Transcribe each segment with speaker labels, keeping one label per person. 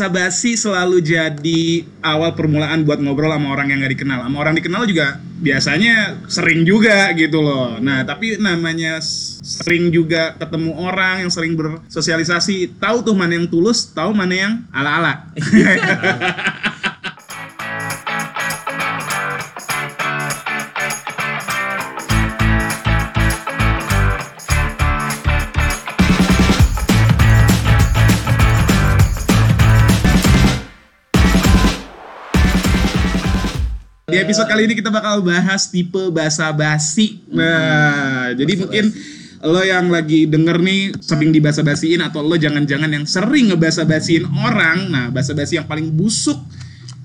Speaker 1: basa-basi selalu jadi awal permulaan buat ngobrol sama orang yang nggak dikenal. Sama orang dikenal juga biasanya sering juga gitu loh. Nah, tapi namanya s- sering juga ketemu orang yang sering bersosialisasi, tahu tuh mana yang tulus, tahu mana yang ala-ala. Di episode kali ini kita bakal bahas tipe basa-basi. Nah, jadi mungkin lo yang lagi denger nih sering dibasa-basiin atau lo jangan-jangan yang sering ngebasa-basiin orang. Nah, basa-basi yang paling busuk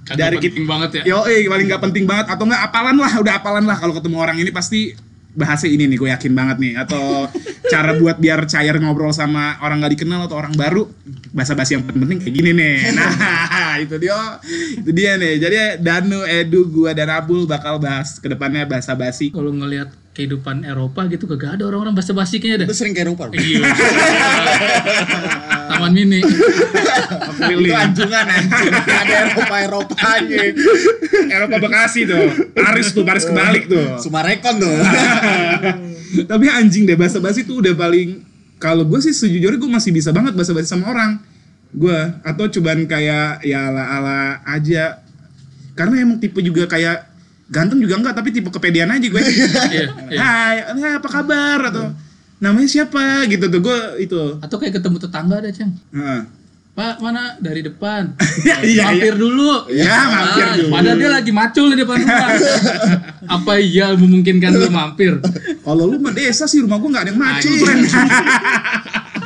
Speaker 2: Kagak
Speaker 1: dari kita
Speaker 2: penting banget ya.
Speaker 1: Yo, eh, paling nggak penting banget atau nggak apalan lah, udah apalan lah kalau ketemu orang ini pasti bahasa ini nih, gue yakin banget nih. Atau cara buat biar cair ngobrol sama orang nggak dikenal atau orang baru, bahasa basi yang penting kayak gini nih. Nah, itu dia, itu dia nih. Jadi Danu, Edu, gua dan Abul bakal bahas kedepannya bahasa basi.
Speaker 2: Kalau ngelihat kehidupan Eropa gitu kagak ada orang-orang bahasa basi kayaknya dah.
Speaker 3: Lu sering ke Eropa lu?
Speaker 2: Iya. Taman mini.
Speaker 3: Itu anjungan anjing. Ada Eropa Eropanya.
Speaker 1: Eropa Bekasi tuh, Paris tuh, Paris kebalik tuh.
Speaker 3: Sumarekon tuh.
Speaker 1: tapi anjing deh bahasa basi tuh udah paling kalau gue sih sejujurnya gue masih bisa banget bahasa basi sama orang gue atau cobaan kayak ya ala ala aja karena emang tipe juga kayak ganteng juga enggak tapi tipe kepedean aja gue
Speaker 2: Iya. iya.
Speaker 1: hai hai, apa kabar atau namanya siapa gitu tuh gue itu
Speaker 2: Atau kayak ketemu tetangga ada, Cang.
Speaker 1: Heeh.
Speaker 2: Pak, mana dari depan?
Speaker 1: Iya, iya.
Speaker 2: mampir dulu.
Speaker 1: Ya, mampir
Speaker 2: Ah,
Speaker 1: dulu.
Speaker 2: Padahal dia lagi macul di depan rumah. Apa iya memungkinkan lu mampir?
Speaker 1: kalau lu mah desa sih rumah gue nggak ada yang macul
Speaker 2: Anjing.
Speaker 1: friend.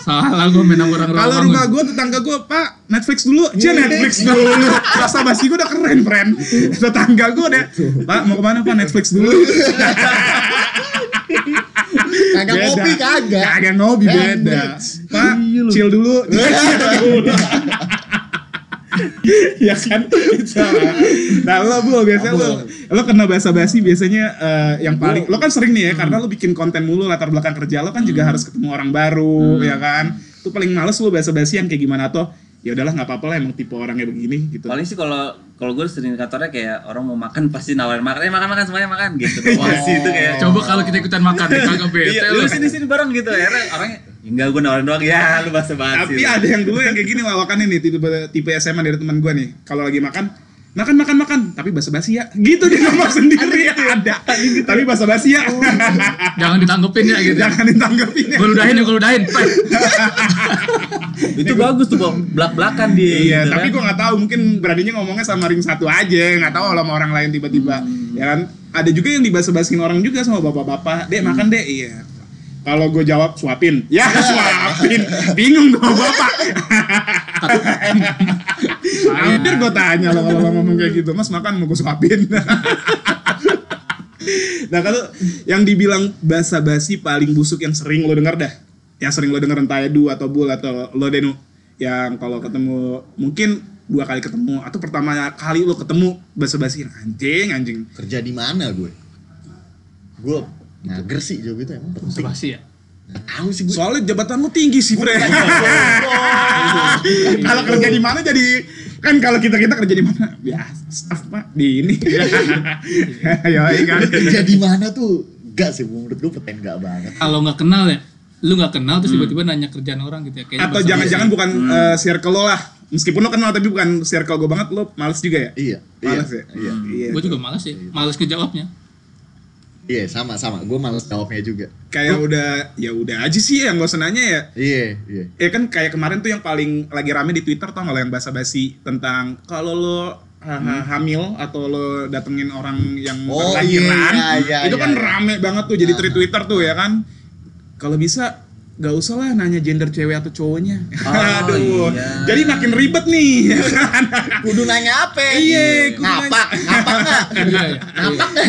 Speaker 2: Salah gua main sama orang
Speaker 1: Kalau rumah gue tetangga gue pak Netflix dulu, Cia Netflix dulu. Rasa basi gue udah keren, friend. Tetangga gue udah, pak mau kemana pak Netflix dulu.
Speaker 3: Kagak kopi kagak.
Speaker 1: Kagak ngopi beda. Pak chill dulu. ya kan nah lo bu biasanya lo lo kena bahasa basi biasanya eh, yang paling lo kan sering
Speaker 3: Hmm.
Speaker 1: nih ya karena lo bikin konten mulu latar belakang kerja lo kan juga harus ketemu orang baru
Speaker 3: Hmm.
Speaker 1: ya kan itu paling males lo bahasa basi yang kayak gimana atau ya udahlah nggak apa-apa lah emang tipe orangnya begini gitu
Speaker 4: paling sih kalau kalau gue sering kantornya kayak orang mau makan pasti nawarin makan eh makan makan semuanya makan gitu
Speaker 1: Iya.
Speaker 4: Wah, sih itu kayak
Speaker 2: Coba kalau kita ikutan makan, kagak bete
Speaker 4: iya,
Speaker 2: lu.
Speaker 4: lu sini sini bareng gitu akhirnya orangnya enggak gue nawarin doang ya lu bahasa basi
Speaker 1: tapi ada yang dulu yang kayak gini lawakannya nih tipe tipe SMA dari teman gue nih kalau lagi makan makan makan makan tapi bahasa basi ya gitu di nomor sendiri ada tapi bahasa basi ya
Speaker 2: Jangan ditanggepin ya gitu.
Speaker 1: jangan ditanggepin ya
Speaker 2: Gue ludahin ya, gue ludahin. Pak.
Speaker 4: itu bagus tuh belak belakan dia
Speaker 1: Iya,
Speaker 4: gitu
Speaker 1: tapi
Speaker 4: kan.
Speaker 1: gue nggak tahu mungkin beraninya ngomongnya sama ring satu aja, nggak tahu kalau sama orang lain tiba-tiba.
Speaker 4: Hmm.
Speaker 1: Ya kan, ada juga yang dibasa-basin orang juga sama bapak-bapak, dek
Speaker 4: Hmm.
Speaker 1: makan dek, iya. Kalau gue jawab suapin, ya suapin, bingung gue bapak. Hampir gue tanya lo kalau lo ngomong kayak gitu, mas makan mau gue suapin. nah kalau yang dibilang basa-basi paling busuk yang sering lo denger dah, yang sering lo denger entah Edu atau Bul atau lo Denu, yang kalau ketemu mungkin dua kali ketemu atau pertama kali lo ketemu basa-basi anjing anjing.
Speaker 3: Kerja di mana gue? Gue mager sih jauh gitu emang.
Speaker 2: Bahasa basi ya.
Speaker 3: Tahu sih gue.
Speaker 1: Soalnya jabatan lo tinggi sih, Fre. kalau kerja di mana jadi kan kalau kita kita kerja di mana? Ya, staff pak di ini. ya, kan.
Speaker 3: Kerja di mana tuh? Gak sih menurut gue pertanyaan gak banget.
Speaker 2: Kalau nggak kenal ya, lu nggak kenal terus tiba-tiba nanya kerjaan orang gitu ya. Kayaknya
Speaker 1: Atau
Speaker 2: bahasa
Speaker 1: jangan-jangan bukan eh, circle lo lah. Meskipun lo kenal tapi bukan circle gue banget, lo males juga ya?
Speaker 3: Iya, iya,
Speaker 1: Males ya?
Speaker 3: iya,
Speaker 1: Iya.
Speaker 2: gue juga malas ya malas ngejawabnya
Speaker 3: iya, sama sama. Gue males jawabnya juga.
Speaker 1: Kayak udah, ya udah aja sih ya, gak usah nanya ya.
Speaker 3: Iya, iya.
Speaker 1: Ya kan kayak kemarin tuh yang paling lagi rame di Twitter tau gak lo yang basa-basi tentang kalau lo ha- ha- hamil atau lo datengin orang yang
Speaker 3: Hmm. Oh,
Speaker 1: berlahiran,
Speaker 3: iya, iya,
Speaker 1: itu
Speaker 3: iya,
Speaker 1: kan
Speaker 3: iya.
Speaker 1: rame banget tuh jadi tweet Twitter tuh ya kan. Kalau bisa gak usah lah nanya gender cewek atau cowoknya.
Speaker 3: Oh,
Speaker 1: Aduh.
Speaker 4: iya.
Speaker 1: Jadi makin ribet nih. ya kan?
Speaker 3: Kudu nanya apa?
Speaker 1: Iya, kudu nanya.
Speaker 3: Ngapak, ngapak nggak?
Speaker 2: iya ya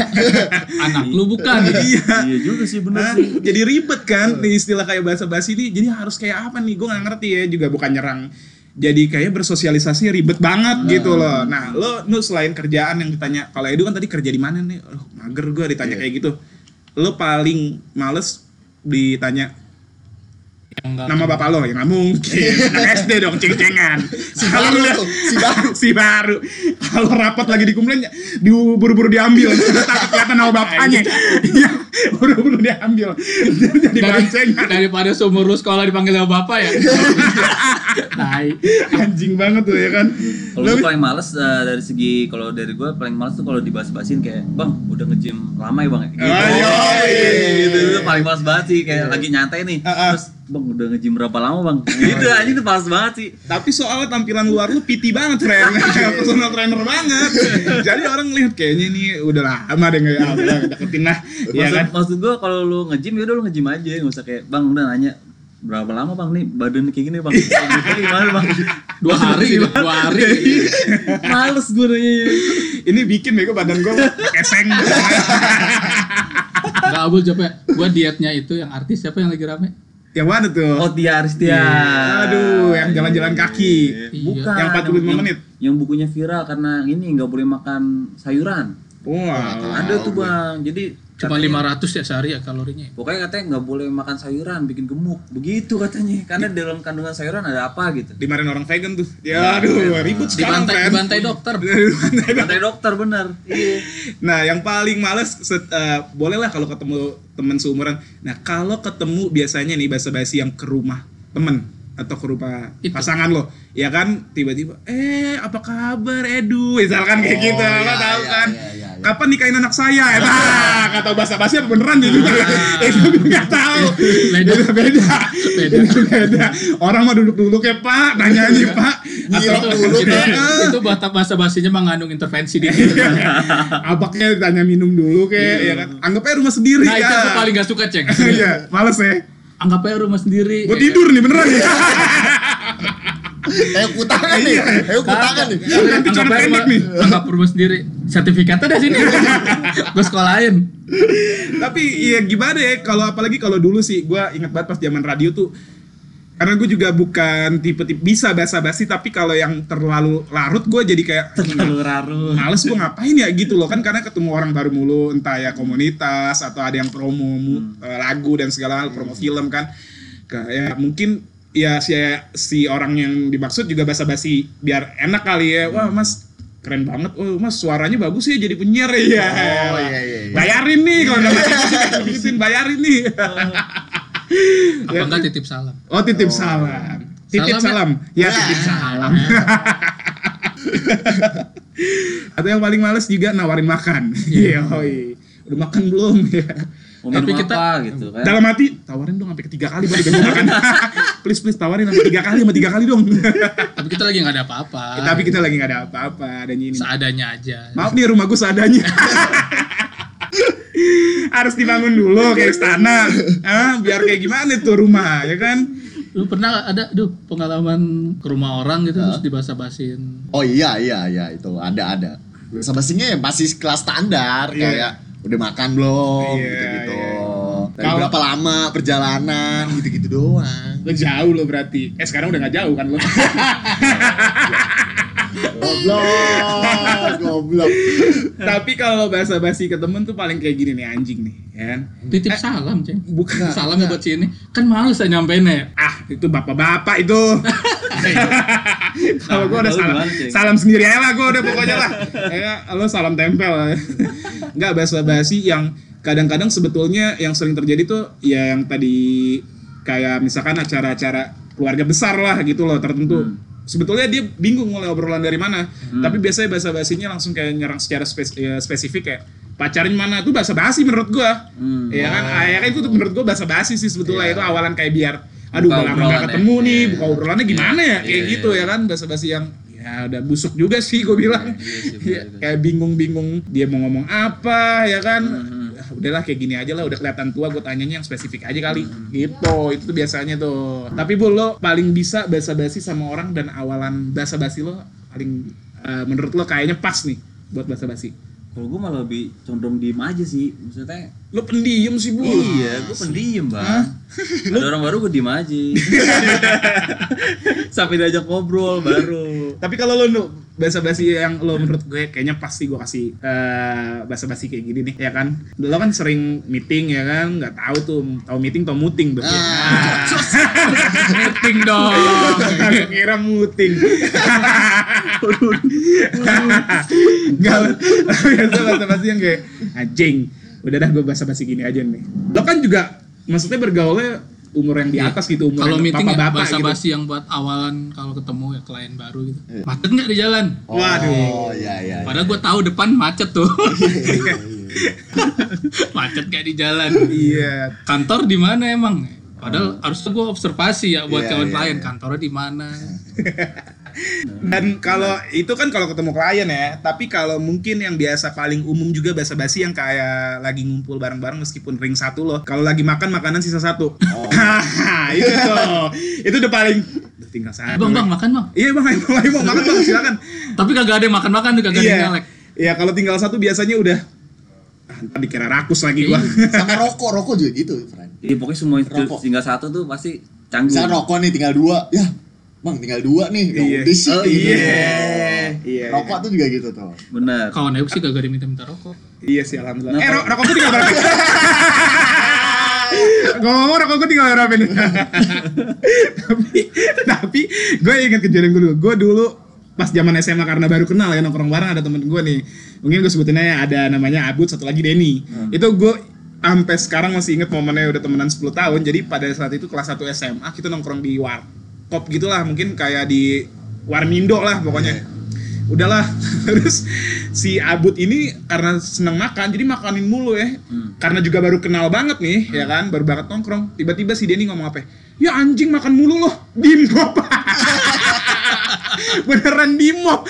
Speaker 2: anak lu bukan
Speaker 1: iya.
Speaker 4: iya juga sih bener
Speaker 1: Nah,
Speaker 4: sih
Speaker 1: jadi ribet kan di istilah kayak bahasa basi ini jadi harus kayak apa nih gue nggak ngerti ya juga bukan nyerang jadi kayak bersosialisasi ribet banget gitu loh nah lo nu selain kerjaan yang ditanya kalau Edu kan tadi kerja di mana nih oh, mager gue ditanya
Speaker 3: Iya.
Speaker 1: kayak gitu lo paling males ditanya
Speaker 2: Iya, Enggak.
Speaker 1: Nama bapak lo ya nggak mungkin. Anak SD dong ceng-cengan. Selalu
Speaker 3: baru
Speaker 1: udah
Speaker 3: tuh, si baru.
Speaker 1: si baru. Kalau rapat lagi dikumpulan di buru-buru diambil. Takut kelihatan nama
Speaker 3: Nah,
Speaker 1: bapaknya. Iya, buru-buru diambil. Jadi
Speaker 2: Dari-
Speaker 1: bahan cengan.
Speaker 2: daripada seumur lu sekolah dipanggil sama bapak ya. Tai.
Speaker 1: Anjing banget tuh ya kan.
Speaker 4: Kalau gue paling males eh, dari segi kalau dari gue paling males tuh kalau dibahas-bahasin kayak bang udah nge-gym lama ya bang ya?" gitu.
Speaker 1: Ayo,
Speaker 4: Gitu itu paling males banget sih kayak lagi nyantai nih.
Speaker 1: iya, Ah, ah. iya,
Speaker 4: Terus bang udah nge-gym berapa lama bang? Gitu anjing itu males banget sih.
Speaker 1: Tapi soalnya tampilan luar lu piti banget, Ren. Personal trainer banget. Jadi orang ngelihat kayaknya ini udah lama deh nggak apa deketin lah. Iya
Speaker 4: Maksud,
Speaker 1: kan?
Speaker 4: maksud gue kalau lu nge-gym ya udah lu nge-gym aja nggak usah kayak bang udah nanya berapa lama bang nih badan kayak gini bang Badan gimana bang
Speaker 2: Dua hari gitu, dua hari. gitu.
Speaker 4: males gue nanya
Speaker 1: Ini bikin bego badan gua keseng.
Speaker 2: Enggak abul capek. Gua dietnya itu yang artis siapa yang lagi rame?
Speaker 1: yang mana tuh?
Speaker 4: oh Tia Aristia
Speaker 1: Iya. Aduh, yang jalan-jalan kaki.
Speaker 4: Iya. bukan
Speaker 1: Yang 45 menit.
Speaker 4: yang bukunya viral karena ini nggak boleh makan sayuran
Speaker 1: Wow.
Speaker 4: ada tuh bang jadi
Speaker 2: Cuma
Speaker 4: katanya-
Speaker 2: 500 ya sehari ya kalorinya.
Speaker 4: pokoknya katanya nggak boleh makan sayuran bikin gemuk begitu katanya karena dalam kandungan sayuran ada apa gitu
Speaker 1: Dimarin orang vegan tuh. Ya aduh, ribut sekarang, Ren.
Speaker 2: Dibantai dibantai dokter.
Speaker 1: Dibantai.
Speaker 4: kata dokter bener iya
Speaker 1: Nah, yang paling males set- eh, bolehlah kalau ketemu temen seumuran. Nah, kalau ketemu biasanya nih basa-basi yang ke rumah temen atau ke rumah
Speaker 2: Itu.
Speaker 1: pasangan lo, ya kan? Tiba-tiba, eh apa kabar Edu? Misalkan kayak gitu, lo tahu kan? Kapan nikahin anak saya? Eh, Nah, nggak tahu basa-basi apa beneran gitu? Itu gue nggak tahu.
Speaker 2: Beda.
Speaker 1: Beda, beda.
Speaker 2: Beda.
Speaker 1: Itu beda. Orang mah duduk dulu ya Pak, nanya aja
Speaker 2: Iya.
Speaker 1: Pak.
Speaker 3: Nyium
Speaker 1: Atau
Speaker 3: dulu,
Speaker 2: itu,
Speaker 1: Eh, eh.
Speaker 2: itu bahasa bahasa basinya mengandung intervensi di situ.
Speaker 1: Abaknya tanya minum dulu kayak ya kan. Anggap aja rumah sendiri
Speaker 2: Iya. Nah itu
Speaker 1: ya.
Speaker 2: aku paling gak suka ceng.
Speaker 1: Iya, males ya.
Speaker 2: Anggap aja rumah sendiri.
Speaker 1: Gue
Speaker 2: Ya,
Speaker 1: tidur nih beneran ya.
Speaker 3: Ayo
Speaker 1: Iya.
Speaker 3: kutangan nih, ayo kutangan nih.
Speaker 2: Anggap
Speaker 1: Nanti
Speaker 2: anggap
Speaker 1: coret
Speaker 2: aja
Speaker 1: pendek
Speaker 2: rumah,
Speaker 1: nih.
Speaker 2: anggap rumah sendiri. Sertifikatnya dari sini. Gue sekolahin.
Speaker 1: Tapi ya gimana ya kalau apalagi kalau dulu sih gua ingat banget pas zaman radio tuh karena gue juga bukan tipe-tipe bisa basa-basi tapi kalau yang terlalu larut gue jadi kayak
Speaker 4: terlalu raru
Speaker 1: males gue ngapain ya gitu loh kan karena ketemu orang baru mulu entah ya komunitas atau ada yang promo mu- eh, lagu dan segala hal promo film kan kayak mungkin ya si si orang yang dimaksud juga basa-basi biar enak kali ya wah mas keren banget oh mas suaranya bagus ya jadi penyiar ya
Speaker 3: Oh, iya, iya, iya.
Speaker 1: bayarin nih kalau udah bayarin bayarin nih Ya.
Speaker 2: Apa enggak titip salam.
Speaker 1: oh titip salam titip salam
Speaker 2: Salam
Speaker 1: ya titip salam
Speaker 2: Salam.
Speaker 1: atau yang paling males juga nawarin makan iya udah makan belum ya
Speaker 4: mau minum
Speaker 2: Tapi kita-
Speaker 4: apa gitu kan
Speaker 1: dalam hati tawarin dong sampai ketiga kali baru bego makan please please tawarin sampai tiga kali sama tiga kali dong
Speaker 2: Tapi kita lagi nggak ada apa-apa.
Speaker 1: tapi kita lagi nggak ada apa-apa adanya ini
Speaker 2: seadanya aja.
Speaker 1: maaf nih rumah gue seadanya harus dibangun dulu kayak istana ah, biar kayak gimana tuh rumah ya kan
Speaker 2: Lu pernah ada duh pengalaman ke rumah orang gitu terus dibasa-basin.
Speaker 3: Oh iya iya iya itu ada ada. Sebasinya ya masih kelas standar
Speaker 1: Iya.
Speaker 3: kayak udah makan belum
Speaker 1: Iya,
Speaker 3: gitu-gitu.
Speaker 1: iya,
Speaker 3: Dari
Speaker 1: Kalau-
Speaker 3: berapa lama perjalanan gitu-gitu doang.
Speaker 1: lo jauh lo berarti eh sekarang udah nggak jauh kan lo
Speaker 3: Goblok, goblok.
Speaker 1: tapi kalau bahasa basi ke temen tuh paling kayak gini nih anjing nih ya kan?
Speaker 2: Titip salam, Ceng.
Speaker 1: bukan
Speaker 2: Salam ya buat sini. Kan males saya nyampeinnya ya.
Speaker 1: ah itu bapak-bapak itu kalau gue udah
Speaker 4: Nah, lu
Speaker 1: salam
Speaker 4: gimana, Ceng?
Speaker 1: salam sendiri aja lah gue udah pokoknya lah ya lo salam tempel nggak bahasa basi yang kadang-kadang sebetulnya yang sering terjadi tuh ya yang tadi kayak misalkan acara-acara keluarga besar lah gitu loh
Speaker 4: Hmm.
Speaker 1: tertentu sebetulnya dia bingung mulai obrolan dari mana tapi biasanya bahasa basinya langsung kayak nyerang secara spes- ya, spesifik kayak pacarin mana tuh bahasa basi menurut gua
Speaker 4: Hmm. Iya.
Speaker 1: ya kan akhirnya itu tuh menurut gua bahasa basi sih sebetulnya itu awalan kayak biar aduh
Speaker 4: Buka
Speaker 1: udah lama gak
Speaker 4: obrolannya.
Speaker 1: ketemu nih buka obrolannya gimana ya kayak
Speaker 4: Iya, Iya,
Speaker 1: gitu ya kan basa-basi yang ya udah busuk juga sih gue bilang
Speaker 4: sih,
Speaker 1: Ya, kayak bingung-bingung dia mau ngomong apa ya kan
Speaker 4: Hmm.
Speaker 1: Ah, udahlah kayak gini aja lah udah kelihatan tua gue tanyanya yang spesifik aja kali
Speaker 4: Hmm.
Speaker 1: gitu itu tuh biasanya tuh tapi bu lo paling bisa basa-basi sama orang dan awalan basa-basi lo paling eh, menurut lo kayaknya pas nih buat basa-basi
Speaker 4: kalau gue malah lebih condong diem aja sih maksudnya
Speaker 1: lo pendiam sih bu
Speaker 4: Iya, gue pendiam bang. Ada orang baru gue diem aja. Sampai diajak ngobrol baru.
Speaker 1: tapi kalau lo Nu, bahasa basi yang lo menurut gue kayaknya pasti gue kasih bahasa basi kayak gini nih ya kan lo kan sering meeting ya kan nggak tahu tuh tahu meeting tau muting berarti Nah,
Speaker 3: Ah.
Speaker 2: Meeting dong.
Speaker 1: Ah, gue kira muting nggak lo- biasa bahasa basi yang kayak anjing udah dah gue bahasa basi gini aja nih lo kan juga maksudnya bergaulnya umur yang di atas gitu umur
Speaker 2: Iya. Kalau
Speaker 1: yang
Speaker 2: meeting ya,
Speaker 1: bapak-bapak
Speaker 2: bahasa
Speaker 1: gitu.
Speaker 2: basi yang buat awalan kalau ketemu ya klien baru gitu.
Speaker 1: Iya.
Speaker 2: Macet nggak di jalan?
Speaker 3: Oh,
Speaker 1: Waduh.
Speaker 3: iya iya.
Speaker 2: Padahal gue tahu depan macet tuh. macet kayak di jalan.
Speaker 1: iya
Speaker 2: Kantor di mana emang? Padahal harus gue observasi ya buat
Speaker 3: Hmm. Iya,
Speaker 2: kawan
Speaker 3: iya,
Speaker 2: klien
Speaker 3: iya. Nah,
Speaker 2: kantornya di mana.
Speaker 1: Dan kalau itu kan kalau ketemu klien ya, tapi kalau mungkin yang biasa paling umum juga bahasa basi yang kayak lagi ngumpul bareng-bareng meskipun ring satu loh. Kalau lagi makan makanan sisa satu. Hahaha, itu tuh. itu udah paling udah tinggal satu.
Speaker 2: Bang bang
Speaker 1: nih.
Speaker 2: makan bang.
Speaker 1: Iya, Bang, ayo, Bang, ayo, Bang, makan Bang, silakan.
Speaker 2: Tapi kagak ada yang makan makan tuh kagak ada
Speaker 1: Iya.
Speaker 2: yang nyalek.
Speaker 1: Iya, kalau tinggal satu biasanya udah ah, ntar dikira rakus lagi gua.
Speaker 3: Sama rokok, rokok juga gitu, friend.
Speaker 4: Iya pokoknya semua itu
Speaker 3: Rokok.
Speaker 4: tinggal satu tuh pasti canggung.
Speaker 3: Misalnya rokok nih tinggal dua, ya Bang tinggal dua nih, ya
Speaker 1: Iya.
Speaker 3: udah sih
Speaker 4: Oh,
Speaker 3: gitu.
Speaker 4: iya.
Speaker 1: Iya, iya.
Speaker 3: Rokok tuh juga gitu tuh.
Speaker 4: Bener.
Speaker 2: Kawan aku sih kagak ada yang minta-minta rokok.
Speaker 1: Iya sih alhamdulillah. Eh
Speaker 4: Kenapa?
Speaker 1: ro rokok gue tinggal berapa? Ngomong-ngomong rokok gue tinggal berapa nih? tapi tapi gue ingat kejadian gue dulu. Gue dulu pas zaman SMA karena baru kenal ya nongkrong bareng ada temen gue nih. Mungkin gue sebutin aja ada namanya Abud satu lagi Denny. Itu gue sampai sekarang masih inget momennya udah temenan 10 tahun. Jadi pada saat itu kelas 1 SMA kita nongkrong di warkop gitulah mungkin kayak di Warmindo lah pokoknya udahlah terus si Abud ini karena seneng makan jadi makanin mulu ya karena juga baru kenal banget nih ya kan baru banget nongkrong tiba-tiba si Denny ngomong apa ya? ya anjing makan mulu loh dimob beneran dimob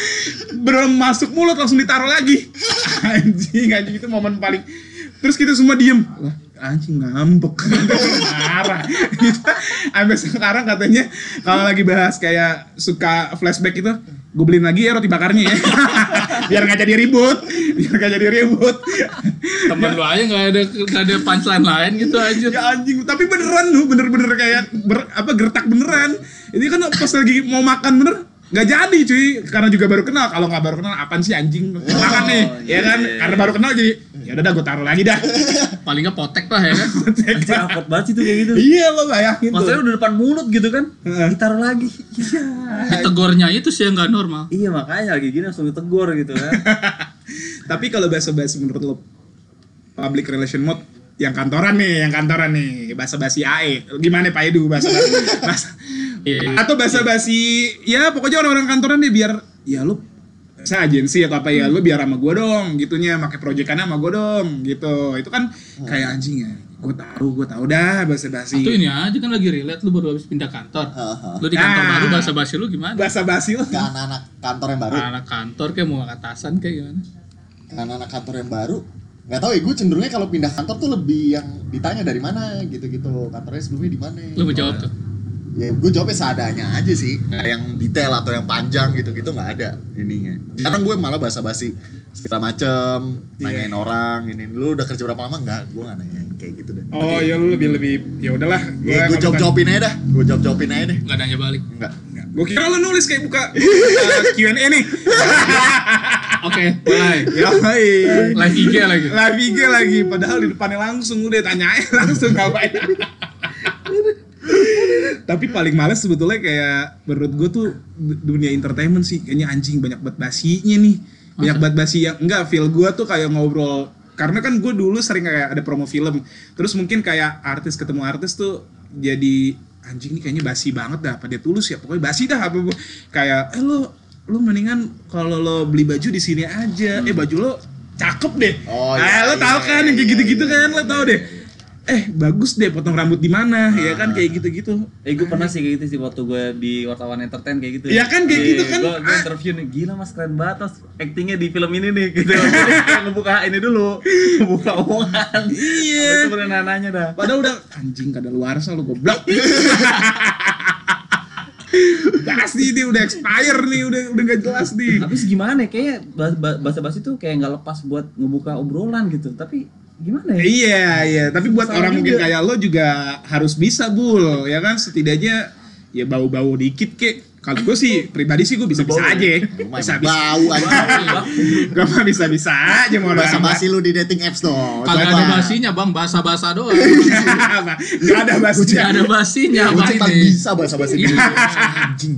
Speaker 1: belum masuk mulut langsung ditaruh lagi anjing anjing itu momen paling terus kita semua diem Lah, anjing ngambek marah kita sampai sekarang katanya kalau lagi bahas kayak suka flashback itu gue beliin lagi ya roti bakarnya ya biar nggak jadi ribut biar nggak jadi ribut
Speaker 2: Temen lu aja nggak ada nggak ada punchline lain gitu aja.
Speaker 1: ya anjing tapi beneran lu bener-bener kayak ber- apa gertak beneran ini kan pas lagi mau makan bener nggak jadi cuy karena juga baru kenal kalau nggak baru kenal apaan sih anjing makan nih ya
Speaker 4: Oh, iya.
Speaker 1: kan karena baru kenal jadi ya udah gue taruh lagi dah
Speaker 2: Paling nggak potek lah ya kan.
Speaker 4: Anjir rapot banget sih tuh kayak gitu.
Speaker 1: iya lo bayangin
Speaker 4: Maksudnya
Speaker 1: tuh
Speaker 4: udah depan mulut gitu kan. Ditaruh lagi. Iya.
Speaker 2: Ditegornya itu sih yang nggak normal.
Speaker 4: Iya makanya lagi gini langsung ditegur gitu kan.
Speaker 1: tapi kalau bahasa basi menurut lo public relation mode yang kantoran nih yang kantoran nih bahasa basi AE gimana Pak Edu bahasa bahasa
Speaker 2: Iya.
Speaker 1: atau bahasa basi ya pokoknya orang-orang kantoran deh biar ya lu saya agensi atau apa ya lu biar sama gue dong gitunya pakai proyekannya sama gue dong gitu itu kan kayak anjing ya gue tahu gue tahu dah bahasa basi
Speaker 2: Itu ini aja kan lagi relate lu baru habis pindah kantor.
Speaker 3: Aha. Nah.
Speaker 2: Lu di kantor
Speaker 1: Ah.
Speaker 2: baru bahasa basi lu gimana?
Speaker 1: bahasa basi lo
Speaker 3: Ke anak-anak kantor yang baru,
Speaker 2: Anak kantor kayak mau ke atasan kayak gimana?
Speaker 3: ke anak-anak kantor yang baru. Gak tau ya, gue cenderungnya kalau pindah kantor tuh lebih yang ditanya dari mana gitu-gitu Kantornya sebelumnya di mana
Speaker 2: Lu mau jawab tuh.
Speaker 3: Ya gue jawabnya seadanya aja sih Nggak yang detail atau yang panjang gitu-gitu nggak ada ininya Sekarang gue malah basa-basi segala macem
Speaker 1: Iya.
Speaker 3: Nanyain orang, ini Lu udah kerja berapa lama? Nggak, gue nggak nanya kayak gitu deh
Speaker 1: oh ya lu lebih lebih ya udahlah
Speaker 3: Ya, gue jawab-jawabin aja dah, gue jawab-jawabin aja deh
Speaker 2: Enggak nanya balik.
Speaker 3: Enggak
Speaker 1: gue kira lu nulis kayak buka uh, Q&A nih
Speaker 2: Oke, mulai.
Speaker 1: ya hai
Speaker 2: Live IG gitu. lagi.
Speaker 1: live IG lagi padahal di depannya langsung udah tanyain langsung ngapain tapi paling males sebetulnya kayak menurut gue tuh du- dunia entertainment sih kayaknya anjing banyak banget basinya nih banyak banget basi yang enggak feel gue tuh kayak ngobrol karena kan gue dulu sering kayak ada promo film terus mungkin kayak artis ketemu artis tuh jadi anjing nih kayaknya basi banget dah apa dia tulus ya pokoknya basi dah apa kayak eh lo lo mendingan kalau lo beli baju di sini aja eh baju lo cakep deh
Speaker 3: Hmm. Oh,
Speaker 1: ah,
Speaker 3: iya,
Speaker 1: lo
Speaker 3: iya,
Speaker 1: tau kan yang kayak
Speaker 3: iya,
Speaker 1: gitu-gitu
Speaker 3: iya,
Speaker 1: kan lo tau deh eh bagus deh potong rambut di mana ya kan kayak gitu-gitu
Speaker 4: eh gue pernah sih kayak gitu sih waktu gue di wartawan entertain kayak gitu.
Speaker 1: Iya kan, kayak gitu kan.
Speaker 4: Gue,
Speaker 1: Ah.
Speaker 4: interview nih gila mas keren banget mas actingnya di film ini nih gitu. Kayak ngebuka ini dulu, ngebuka omongan.
Speaker 1: Iya.
Speaker 4: Itu pernah nanya dah.
Speaker 1: Padahal udah anjing kada luar lu goblok. Pasti dia udah expire nih, udah udah gak jelas nih.
Speaker 4: Habis gimana ya? Kayaknya bah- bah- bahasa-bahasa itu kayak nggak lepas buat ngebuka obrolan gitu. Tapi gimana ya?
Speaker 1: Iya, iya. Tapi buat
Speaker 4: Salah
Speaker 1: orang
Speaker 4: juga.
Speaker 1: mungkin kayak lo juga harus bisa, Bul. Ya kan setidaknya ya bau-bau dikit kek. Kalau gue sih pribadi sih gue bisa-bisa
Speaker 4: Bau.
Speaker 1: aja.
Speaker 3: Lu mah emang
Speaker 1: Bisa-bisa.
Speaker 3: bau aja.
Speaker 1: Gue mah bisa-bisa aja mau
Speaker 3: Bahasa basi lu di dating apps dong.
Speaker 2: Kagak ada
Speaker 3: Coba.
Speaker 2: basinya bang, bahasa-bahasa doang.
Speaker 1: Gak ada
Speaker 2: Gak
Speaker 1: bahasanya.
Speaker 2: ada basinya
Speaker 3: Gue
Speaker 2: bang
Speaker 3: tak
Speaker 2: ini.
Speaker 3: bisa bahasa bahasa Indonesia. Anjing.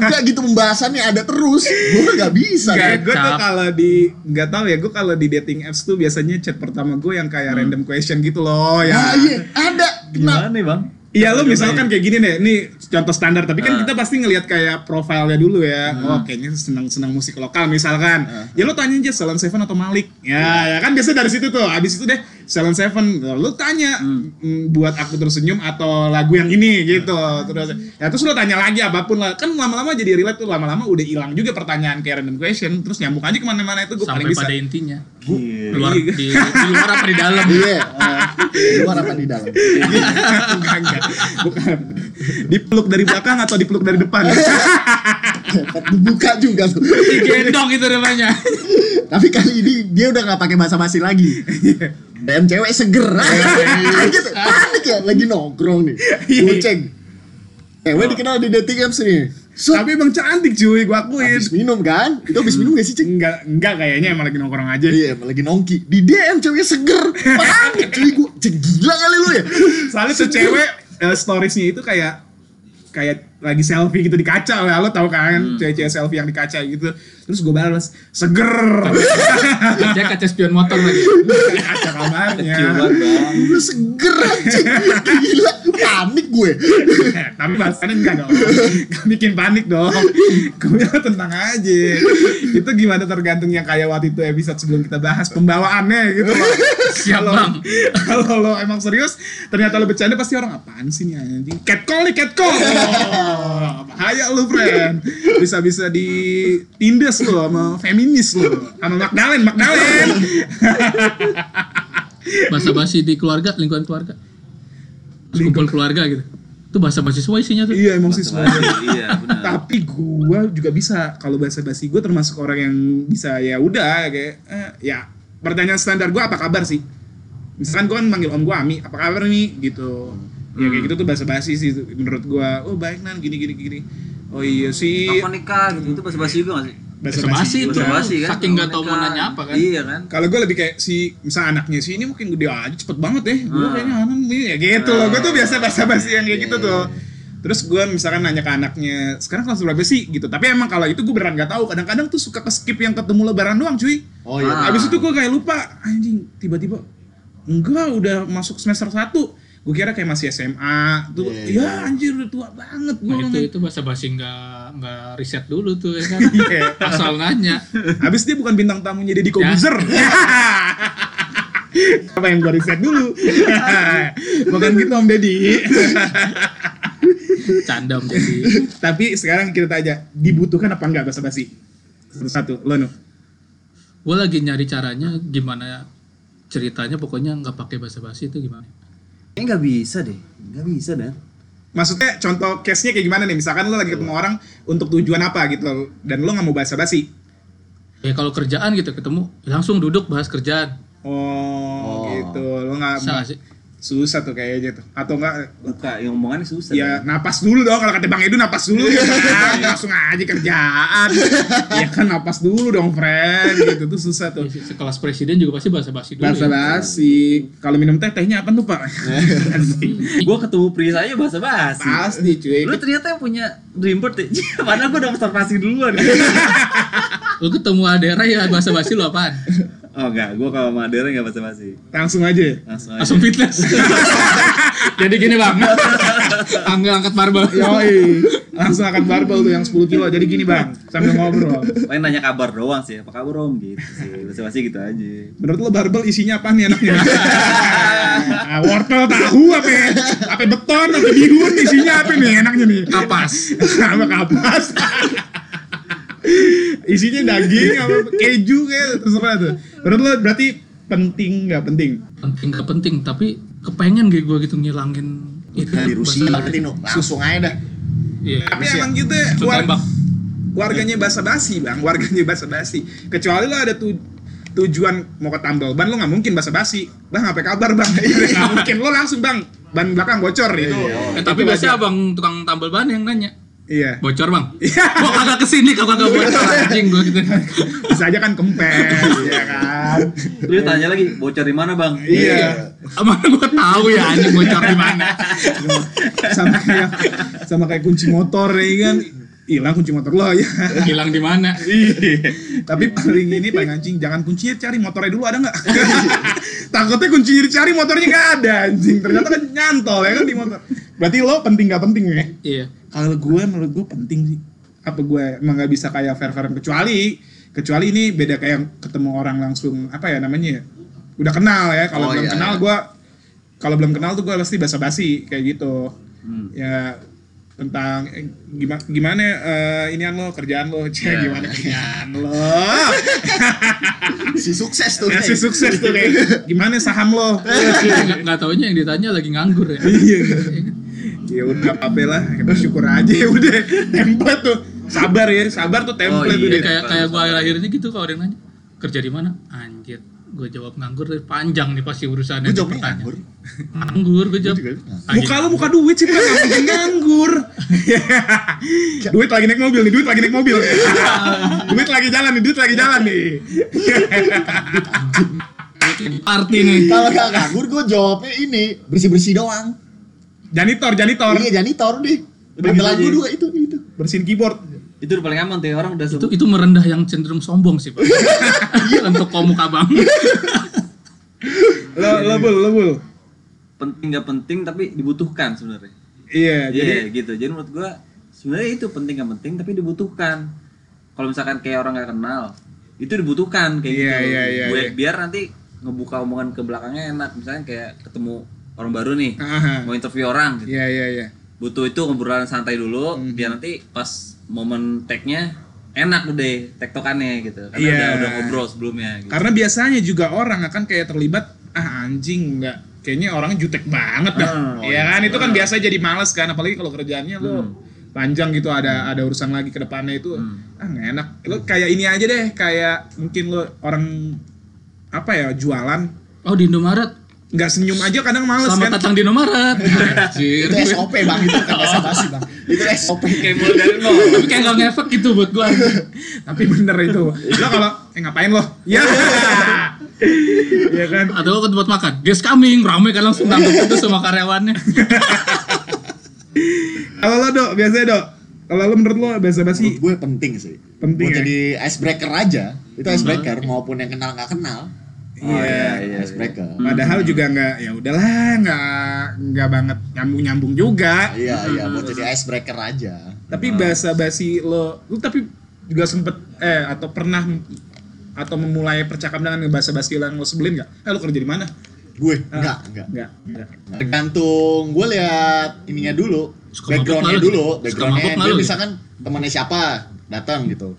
Speaker 3: Ada gitu pembahasannya ada terus. Gue gak bisa.
Speaker 1: Kayak
Speaker 3: deh.
Speaker 1: gue tuh
Speaker 2: Cap.
Speaker 1: kalau di nggak tahu ya gue kalau di dating apps tuh biasanya chat pertama gue yang kayak random question gitu loh
Speaker 3: Hmm. Ah,
Speaker 1: ya.
Speaker 3: iya, ada. Kenapa?
Speaker 4: Gimana nih bang?
Speaker 1: Iya lo misalkan kayak gini nih, ini contoh standar. Tapi kan
Speaker 4: Ah.
Speaker 1: kita pasti ngelihat kayak profilnya dulu ya.
Speaker 2: Ah.
Speaker 1: Oh kayaknya senang senang musik lokal misalkan. Ya lo tanya aja Salon Seven atau Malik.
Speaker 2: Iya.
Speaker 1: Ya, ya kan biasa dari situ tuh. Abis itu deh Salon Seven. Lo tanya
Speaker 2: Hmm.
Speaker 1: mm, buat aku tersenyum atau lagu yang ini gitu.
Speaker 2: Ah.
Speaker 1: Terus ya terus lo tanya lagi apapun lah. Kan lama-lama jadi relate tuh. Lama-lama udah hilang juga pertanyaan kayak random question. Terus nyambung aja kemana-mana itu gue paling
Speaker 2: Sampai
Speaker 1: bisa.
Speaker 2: pada intinya.
Speaker 4: Gila.
Speaker 2: Luar di, di luar apa di dalam?
Speaker 3: Iya. Di luar apa di dalam?
Speaker 1: enggak, enggak. Bukan. Dipeluk dari belakang atau dipeluk dari depan?
Speaker 3: Dibuka juga tuh.
Speaker 2: Digendong itu gitu namanya.
Speaker 3: Tapi kali ini dia udah gak pakai bahasa basi lagi. DM cewek seger. Kaget, Panik ya lagi nongkrong nih. Goceng. Cewek dikenal di dating apps nih. Set,
Speaker 1: Tapi emang cantik cuy, gue akuin.
Speaker 3: habis minum kan? Itu habis minum gak sih, Ceng?
Speaker 1: Enggak, enggak kayaknya emang lagi nongkrong aja.
Speaker 3: Iya, emang lagi nongki. Di DM ceweknya seger. Panik cuy gua. Ceng gila kali lu ya.
Speaker 1: Soalnya tuh cewek eh, storiesnya itu kayak kayak lagi selfie gitu di kaca lah lo tau kan cewek-cewek selfie yang di kaca gitu terus gue balas seger
Speaker 2: Dia kaca spion motor lagi.
Speaker 1: kaca kamarnya
Speaker 4: Kecil banget bang.
Speaker 1: Iya.
Speaker 3: Lu seger anjing. Gila, panik gue.
Speaker 1: Eh, tapi bahasannya enggak dong Enggak bikin panik dong gue bilang tenang aja itu gimana tergantung yang kayak waktu itu episode sebelum kita bahas pembawaannya gitu loh
Speaker 2: Siap
Speaker 1: Kalau-
Speaker 2: bang.
Speaker 1: kalau lo emang serius ternyata lo bercanda pasti orang apaan sih nih anjing catcall nih catcall oh, bahaya lo friend bisa bisa ditindas lo sama feminis lo sama Magdalen Magdalen
Speaker 2: Bahasa basi di keluarga, lingkungan keluarga. Lingkungan keluarga gitu. Itu bahasa basi semua isinya tuh.
Speaker 1: iya emang sih semua
Speaker 4: Iya benar.
Speaker 1: tapi gua juga bisa kalau bahasa basi gua termasuk orang yang bisa ya udah kayak eh, ya pertanyaan standar gua apa kabar sih misalkan gua kan manggil om gua Ami apa kabar nih gitu ya kayak gitu tuh bahasa basi sih menurut gua oh baik nan gini gini gini oh iya sih
Speaker 5: Kapan nikah gitu itu bahasa basi juga gak sih?
Speaker 2: Bahasa
Speaker 1: Iya,
Speaker 2: basi itu.
Speaker 5: Bahasa basi kan.
Speaker 2: Saking nggak tahu mau
Speaker 5: Nikah.
Speaker 2: nanya apa kan.
Speaker 5: Iya kan.
Speaker 1: kalau gue lebih kayak si misal anaknya si ini mungkin gede aja cepet banget ya gue
Speaker 3: Hmm.
Speaker 1: kayaknya anak nih ya gitu loh gue tuh biasa basa basi yang
Speaker 3: Iya,
Speaker 1: kayak gitu tuh terus gue misalkan nanya ke anaknya sekarang kelas berapa sih gitu tapi emang kalau itu gue beneran gak tahu kadang-kadang tuh suka ke skip yang ketemu lebaran doang cuy
Speaker 3: Oh iya.
Speaker 5: Ah.
Speaker 1: Habis itu gue kayak lupa anjing tiba-tiba enggak udah masuk semester 1 gue kira kayak masih SMA tuh
Speaker 3: Iya.
Speaker 1: ya anjir udah tua banget gue
Speaker 2: Nah, itu itu bahasa basi nggak nggak riset dulu tuh ya kan.
Speaker 1: Iya.
Speaker 2: Asal nanya.
Speaker 1: Habis dia bukan bintang tamunya Deddy Kobuzer. Apa yang gue riset dulu? bukan gitu Om Deddy.
Speaker 2: Canda om jadi.
Speaker 1: Tapi sekarang kita tanya, dibutuhkan apa enggak bahasa basi? Satu satu, lo no.
Speaker 2: Gue lagi nyari caranya gimana ceritanya pokoknya nggak pakai bahasa basi itu gimana.
Speaker 5: Ini gak bisa deh.
Speaker 4: Gak bisa dan.
Speaker 1: Maksudnya contoh case-nya kayak gimana nih? Misalkan lo lagi ketemu orang untuk tujuan apa gitu dan lo nggak mau bahasa basi.
Speaker 2: Ya kalau kerjaan gitu ketemu langsung duduk bahas kerjaan.
Speaker 1: Oh,
Speaker 3: Oh.
Speaker 1: gitu. Lo nggak
Speaker 2: Salah sih.
Speaker 1: susah tuh kayaknya tuh. Atau enggak
Speaker 4: Buka yang omongannya susah.
Speaker 1: Ya
Speaker 4: Dan.
Speaker 1: napas dulu dong kalau kata Bang Edu napas dulu ya kan? langsung aja kerjaan. ya kan napas dulu dong friend gitu tuh susah
Speaker 2: Ya,
Speaker 1: tuh.
Speaker 2: se- Sekelas presiden juga pasti bahasa basi dulu.
Speaker 1: Bahasa
Speaker 2: ya.
Speaker 1: basi. Kalau minum teh tehnya apa tuh Pak?
Speaker 4: Gua ketemu Pris aja bahasa basi.
Speaker 1: Pasti cuy.
Speaker 4: Lu ternyata yang punya dream bird ya? Padahal gua udah observasi duluan.
Speaker 2: Lu ketemu Adera ya bahasa basi lu apaan?
Speaker 4: oh enggak, gua kalau Madera enggak bahasa basi.
Speaker 1: Langsung aja.
Speaker 4: Langsung aja.
Speaker 2: Langsung fitness. Jadi gini bang, angga angkat barbel.
Speaker 1: Yoi. Langsung akan barbel tuh yang 10 kilo. Jadi gini Bang, sambil ngobrol.
Speaker 4: Paling nanya kabar doang sih, apa kabar om gitu sih. Bahasa basi gitu aja.
Speaker 1: Menurut lo barbel isinya apa nih enaknya? Ah, wortel tahu apa ya? Apa beton, apa bihun isinya apa nih enaknya nih?
Speaker 2: Kapas.
Speaker 1: sama kapas isinya daging sama keju kayak terserah tuh menurut lo berarti penting nggak penting
Speaker 2: Penting gak penting, tapi kepengen gitu gue gitu ngilangin itu.
Speaker 3: Dari Nah, Rusia
Speaker 2: bahasa-
Speaker 3: berarti no. Langsung aja dah.
Speaker 2: Iya.
Speaker 1: tapi emang gitu ya,
Speaker 2: Langsung
Speaker 1: war-
Speaker 2: tembak.
Speaker 1: warganya basa basi bang warganya basa basi kecuali lo ada tu- tujuan mau ke tambal ban lo nggak mungkin basa basi bang apa kabar bang nggak mungkin lo langsung bang ban belakang bocor itu
Speaker 2: Eh, tapi
Speaker 1: Itu
Speaker 2: biasanya
Speaker 1: aja.
Speaker 2: abang tukang tambal ban yang nanya.
Speaker 1: Iya.
Speaker 2: Bocor bang? Gua kagak kesini kalau kagak bocor anjing gua gitu.
Speaker 1: Bisa aja kan kempes, ya kan.
Speaker 4: Terus tanya lagi, bocor di mana bang?
Speaker 1: Iya.
Speaker 2: Mana gua tahu ya anjing bocor di mana?
Speaker 1: Sama kayak sama kayak kunci motor ya kan. Hilang kunci motor lo ya.
Speaker 2: Hilang di mana?
Speaker 1: Tapi paling ini paling anjing jangan kuncinya cari motornya dulu ada nggak? Takutnya kuncinya dicari motornya nggak ada anjing. Ternyata kan nyantol ya kan di motor. Berarti lo penting nggak penting ya?
Speaker 2: Iya.
Speaker 1: Kalau gue menurut gue penting sih. Apa gue emang nggak bisa kayak fair fair kecuali kecuali ini beda kayak ketemu orang langsung apa ya namanya? ya? Udah kenal ya. Kalau
Speaker 3: Oh,
Speaker 1: belum
Speaker 3: iya,
Speaker 1: kenal
Speaker 3: iya.
Speaker 1: gue kalau belum kenal tuh gue pasti basa-basi kayak gitu.
Speaker 3: Hmm.
Speaker 1: Ya tentang eh, gimana gimana eh, inian lo kerjaan lo cek
Speaker 3: Iya.
Speaker 1: gimana kerjaan lo
Speaker 3: si sukses tuh.
Speaker 1: Kasih
Speaker 3: Ney.
Speaker 1: Ya, sukses tuh kayak gimana saham lo?
Speaker 2: Nggak, nggak taunya yang ditanya lagi nganggur ya.
Speaker 1: ya udah apa lah, bersyukur aja ya udah template tuh. Sabar ya, sabar tuh template
Speaker 4: Oh, iya.
Speaker 1: udah.
Speaker 2: Iya, kayak kayak gua akhir-akhir ini gitu kalau ada yang nanya kerja di mana? Anjir, gua jawab nganggur deh. panjang nih pasti urusannya.
Speaker 3: Gue jawabnya
Speaker 2: pertanyaan.
Speaker 3: nganggur.
Speaker 2: Nganggur gua jawab.
Speaker 3: Gua juga nganggur.
Speaker 2: Anjing.
Speaker 1: Muka lu muka duit sih, bukan nganggur- nganggur. duit lagi naik mobil nih, duit lagi naik mobil. duit lagi jalan nih, duit lagi jalan nih.
Speaker 2: Arti nih.
Speaker 3: Kalau nggak nganggur gue jawabnya ini bersih bersih doang.
Speaker 1: janitor, janitor.
Speaker 3: Iya janitor deh.
Speaker 4: Udah
Speaker 3: Ada
Speaker 4: gitu
Speaker 3: lagu
Speaker 4: aja.
Speaker 3: dua itu itu.
Speaker 1: Bersihin keyboard.
Speaker 4: Itu udah paling aman tuh ya, orang udah
Speaker 2: Itu
Speaker 4: sebut.
Speaker 2: itu merendah yang cenderung sombong sih, Pak.
Speaker 3: Iya.
Speaker 2: Untuk kaum abang.
Speaker 1: Lo lo bul, lo bul.
Speaker 4: Penting nggak penting tapi dibutuhkan sebenarnya.
Speaker 1: Iya,
Speaker 4: Iya
Speaker 1: jadi
Speaker 4: gitu. Jadi menurut gua sebenarnya itu penting nggak penting tapi dibutuhkan. Kalau misalkan kayak orang nggak kenal, itu dibutuhkan kayak
Speaker 1: Iya,
Speaker 4: gitu.
Speaker 1: iya, iya,
Speaker 4: Buat-
Speaker 1: iya.
Speaker 4: Biar nanti ngebuka omongan ke belakangnya enak. Misalnya kayak ketemu orang baru nih,
Speaker 1: Aha.
Speaker 4: mau interview orang gitu.
Speaker 1: Iya, Mhm. iya, iya.
Speaker 4: butuh itu ngobrolan santai dulu biar nanti pas momen tag-nya enak udah tektokannya gitu karena
Speaker 1: Iya.
Speaker 4: udah, udah ngobrol sebelumnya gitu.
Speaker 1: Karena biasanya juga orang akan kayak terlibat ah anjing nggak kayaknya orang jutek banget dah.
Speaker 4: Ah, Hmm. oh
Speaker 1: ya kan itu kan biasa jadi males kan apalagi kalau kerjaannya lo panjang gitu ada ada urusan lagi ke depannya itu
Speaker 4: Hmm.
Speaker 1: ah nggak enak. Lo kayak ini aja deh kayak mungkin lo orang apa ya jualan
Speaker 2: Oh, di Indomaret.
Speaker 1: nggak senyum aja kadang males kan.
Speaker 2: Selamat datang di Indomaret. Anjir.
Speaker 3: Iya. Itu SOP bang itu bukan basa basi bang. Itu SOP.
Speaker 4: kayak mulai dari nol
Speaker 2: Tapi kayak nggak ngefek gitu buat gua.
Speaker 1: Tapi bener itu. lo kalau eh ngapain lo? Ya. Iya kan?
Speaker 2: Atau gua ke tempat makan. Guest coming, rame kan langsung nambah itu semua karyawannya.
Speaker 1: Kalau lo dok biasanya dok. Kalau lo menurut lo biasa
Speaker 3: Menurut
Speaker 4: Oh,
Speaker 1: basi
Speaker 4: iya,
Speaker 3: gue penting sih.
Speaker 1: Penting
Speaker 3: Buat
Speaker 1: ya? Hmm.
Speaker 3: jadi icebreaker aja. Itu icebreaker maupun yang kenal nggak kenal. ya
Speaker 4: Oh, iya, iya,
Speaker 3: Icebreaker.
Speaker 1: Padahal juga nggak ya udahlah nggak nggak banget nyambung nyambung juga.
Speaker 3: Iya iya buat jadi icebreaker aja.
Speaker 1: Tapi bahasa basi lo, lu tapi juga sempet eh atau pernah m- atau memulai percakapan dengan bahasa basi yang lo sebelin nggak? Eh lo kerja di mana?
Speaker 3: Gue enggak enggak.
Speaker 1: Nggak. nggak.
Speaker 3: Tergantung gue lihat ininya dulu,
Speaker 2: Suka mabok
Speaker 3: backgroundnya
Speaker 2: malu.
Speaker 3: dulu,
Speaker 2: Suka mabok
Speaker 3: backgroundnya
Speaker 2: malu
Speaker 3: dia
Speaker 2: gitu.
Speaker 3: misalkan temannya siapa datang gitu.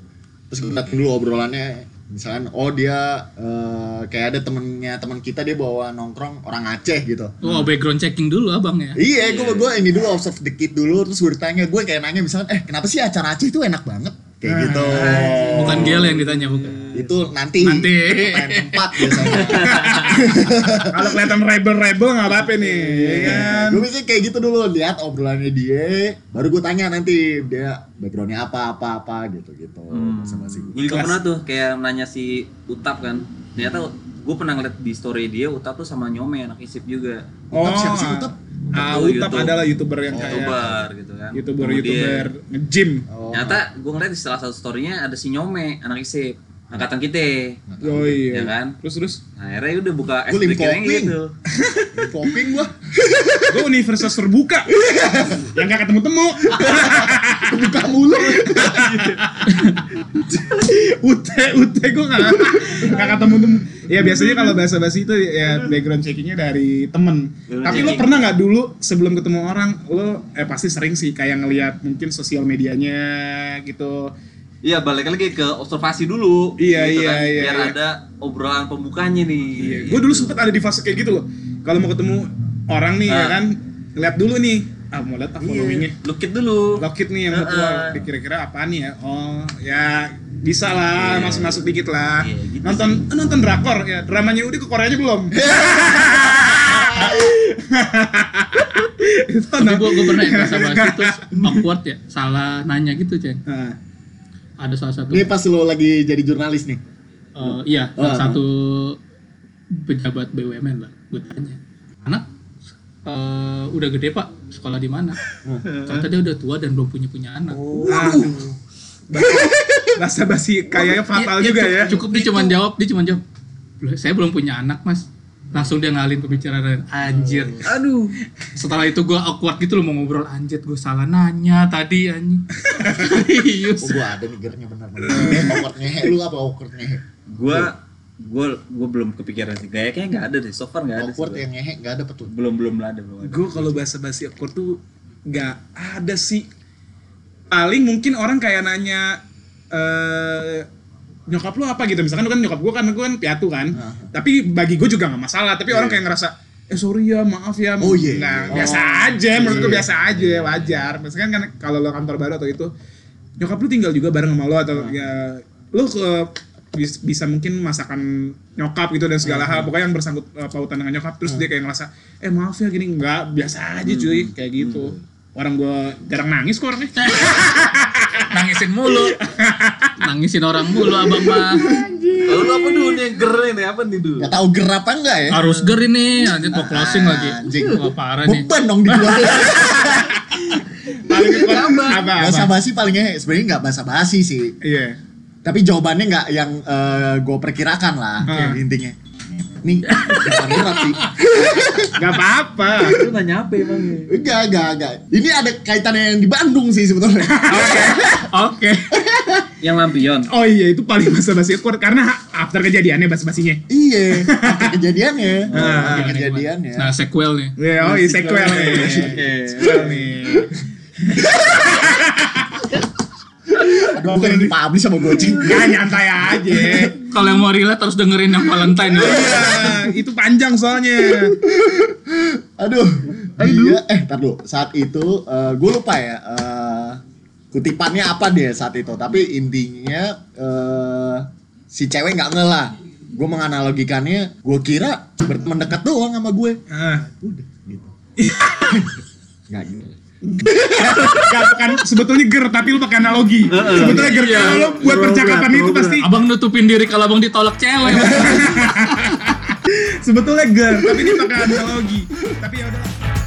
Speaker 3: Terus gue datang dulu obrolannya, misalkan oh dia eh, kayak ada temennya teman kita dia bawa nongkrong orang Aceh gitu.
Speaker 2: Wow, background checking dulu abang ya.
Speaker 3: Iya, gue gue ini dulu observe the kid dulu, terus gue ditanya gue kayak nanya misalkan, eh kenapa sih acara Aceh itu enak banget? Kayak gitu.
Speaker 2: Ah, iya. Bukan Gel yang ditanya, bukan.
Speaker 3: Itu nanti.
Speaker 2: Nanti.
Speaker 3: Pertanyaan tempat biasanya.
Speaker 1: Kalau kelihatan rebel rebel nggak apa-apa nih,
Speaker 4: Iya
Speaker 3: Iya
Speaker 1: ya kan?
Speaker 3: gue biasanya kayak gitu dulu lihat obrolannya dia baru gue tanya nanti dia backgroundnya apa apa apa gitu gitu
Speaker 4: Hmm.
Speaker 3: sama si
Speaker 4: gue juga pernah tuh kayak nanya si Utap kan ternyata gue pernah ngeliat di story dia Utap tuh sama Nyome anak isip juga
Speaker 3: Utap siapa sih, Utap?
Speaker 1: Ah,
Speaker 4: Utap
Speaker 1: Utap
Speaker 4: YouTube.
Speaker 1: adalah youtuber yang kayak
Speaker 4: youtuber gitu kan
Speaker 1: Iya, youtuber
Speaker 4: Kemudian,
Speaker 1: youtuber nge-gym.
Speaker 3: Oh,
Speaker 4: ternyata gue ngeliat di salah satu storynya ada si Nyome anak isip angkatan kita
Speaker 1: Oh iya.
Speaker 4: Ya kan?
Speaker 1: Terus terus.
Speaker 4: nah, akhirnya udah buka
Speaker 3: Gua
Speaker 4: icebreaker-nya
Speaker 3: limpoping.
Speaker 4: gitu
Speaker 3: popping gue
Speaker 1: Gue universitas terbuka yang nggak ketemu temu.
Speaker 3: buka mulu
Speaker 1: Ute, Ute gue gak, gak ketemu temen Ya biasanya kalau bahasa basi itu ya background checkingnya dari temen
Speaker 4: Background
Speaker 1: Tapi lo
Speaker 4: checking.
Speaker 1: pernah gak dulu sebelum ketemu orang Lo eh, pasti sering sih kayak ngelihat mungkin sosial medianya gitu
Speaker 4: Iya balik lagi ke observasi dulu.
Speaker 1: Iya, iya,
Speaker 4: kan,
Speaker 1: iya,
Speaker 4: Biar
Speaker 1: iya.
Speaker 4: ada obrolan pembukanya nih.
Speaker 1: Gue Iya,
Speaker 4: iya.
Speaker 1: dulu sempet ada di fase kayak gitu loh Kalau mau ketemu orang nih ya
Speaker 4: Ah. Iya.
Speaker 1: kan Lihat dulu nih Ah mau lihat ah followingnya
Speaker 4: Lukit dulu.
Speaker 1: Locket nih yang ketua
Speaker 4: Heeh.
Speaker 1: kira-kira apaan nih ya? Oh, ya bisa lah, masuk-masuk dikit lah.
Speaker 4: Iya, gitu
Speaker 1: nonton nonton drakor ya, Iya. dramanya udah ke Koreanya belum.
Speaker 2: Tapi gue gue pernah ya bahasa basi terus awkward ya, salah nanya gitu ceng.
Speaker 1: Nah,
Speaker 2: Ada salah satu,
Speaker 3: Ini pas lo lagi jadi jurnalis nih.
Speaker 2: eh, iya salah
Speaker 3: Ah.
Speaker 2: satu pejabat BUMN lah, gue tanya, anak eh, udah gede pak, sekolah di mana?
Speaker 3: Hmm.
Speaker 2: Ternyata dia udah tua dan belum punya punya anak.
Speaker 1: bahasa basi Nah. kayaknya fatal
Speaker 2: Iya, iya,
Speaker 1: juga
Speaker 2: cu-
Speaker 1: ya.
Speaker 2: Cukup dia cuma jawab, dia cuma jawab, "Belum- saya belum punya anak mas. Langsung dia ngalin pembicaraan, anjir.
Speaker 1: Hmm.
Speaker 5: Aduh.
Speaker 2: Setelah itu gue awkward gitu loh mau ngobrol, anjir gue salah nanya tadi anjing.
Speaker 3: Oh,
Speaker 2: Serius.
Speaker 3: gua ada nih gernya benar benar. awkward ngehe lu apa awkward ngehe?
Speaker 4: Gua gua gua belum kepikiran sih. Gaya kayaknya nggak ada deh. So far nggak ada. sih
Speaker 3: Awkward
Speaker 1: ya.
Speaker 4: gua.
Speaker 3: yang ngehe enggak ada petunjuk.
Speaker 4: Belum belum ada belum ada.
Speaker 1: Gue kalau bahasa basi awkward tuh nggak ada sih. Paling mungkin orang kayak nanya eh nyokap lu apa gitu. Misalkan lu kan nyokap gue kan gue kan piatu kan.
Speaker 3: Ah. Iya,
Speaker 1: Tapi bagi gue juga nggak masalah. Tapi orang kayak ngerasa eh sorry ya maaf ya
Speaker 3: Oh, iya.
Speaker 1: Nah,
Speaker 3: Oh.
Speaker 1: biasa aja menurut gue
Speaker 3: Iya.
Speaker 1: biasa aja wajar misalkan kan kalau lo kantor baru atau itu nyokap lu tinggal juga bareng sama lo atau
Speaker 3: Ah.
Speaker 1: ya lu ke bis- bisa mungkin masakan nyokap gitu dan
Speaker 3: Ah,
Speaker 1: segala hal pokoknya yang bersangkut eh, pautan dengan nyokap terus dia kayak ngerasa eh maaf ya gini enggak biasa aja cuy
Speaker 3: Hmm.
Speaker 1: kayak gitu orang gua jarang nangis kok orangnya
Speaker 2: Nangisin mulu. Nangisin orang mulu abang mah.
Speaker 4: Kalau lu apa dulu nih yang keren nih apa nih dulu?
Speaker 3: Enggak tahu ger apa enggak ya?
Speaker 4: Ah,
Speaker 2: Harus ger ini, anjir mau closing lagi.
Speaker 3: Anjing.
Speaker 2: Wah parah nih.
Speaker 3: Beban dong di gua.
Speaker 1: paling apa apa,
Speaker 3: Bahasa basi paling ngehe sebenarnya enggak bahasa basi sih.
Speaker 1: iya
Speaker 3: Tapi jawabannya enggak yang gue perkirakan lah
Speaker 1: Ah.
Speaker 4: Hmm.
Speaker 3: intinya. Nih, bukan berat sih.
Speaker 1: nggak apa-apa
Speaker 4: Lu nanya apa emang? ya?
Speaker 3: Enggak, enggak, enggak. Ini ada kaitannya yang di Bandung sih sebetulnya.
Speaker 1: oke
Speaker 4: Yang lampion.
Speaker 1: oh iya itu paling bahasa basi awkward karena after kejadiannya bahasa basinya
Speaker 3: iya, apa kejadiannya? Apa
Speaker 2: Nah, ini
Speaker 3: kejadiannya?
Speaker 2: gua- Nah sequel nih.
Speaker 1: Ya, oh, iya, sequel nih. Sequel nih.
Speaker 3: Aduh, bukan yang dipublish sama Gojek.
Speaker 1: Nggak nyantai aja.
Speaker 2: Kalau yang mau relate harus dengerin yang Valentine. ya.
Speaker 1: Iya, itu panjang soalnya.
Speaker 3: Aduh. Dia, eh, tar dulu. Saat itu gue lupa ya. eh, kutipannya apa dia saat itu. Tapi intinya eh si cewek nggak ngelah. Gue menganalogikannya, gue kira berteman dekat doang sama gue.
Speaker 1: Ah,
Speaker 3: Udah gitu. Nggak gitu.
Speaker 1: nggak, bukan sebetulnya ger tapi lu pakai analogi. Sebetulnya ger kalau lu buat percakapan itu pasti
Speaker 2: Abang nutupin diri kalau abang ditolak cewek.
Speaker 1: sebetulnya ger tapi dia pakai analogi. Tapi ya udah.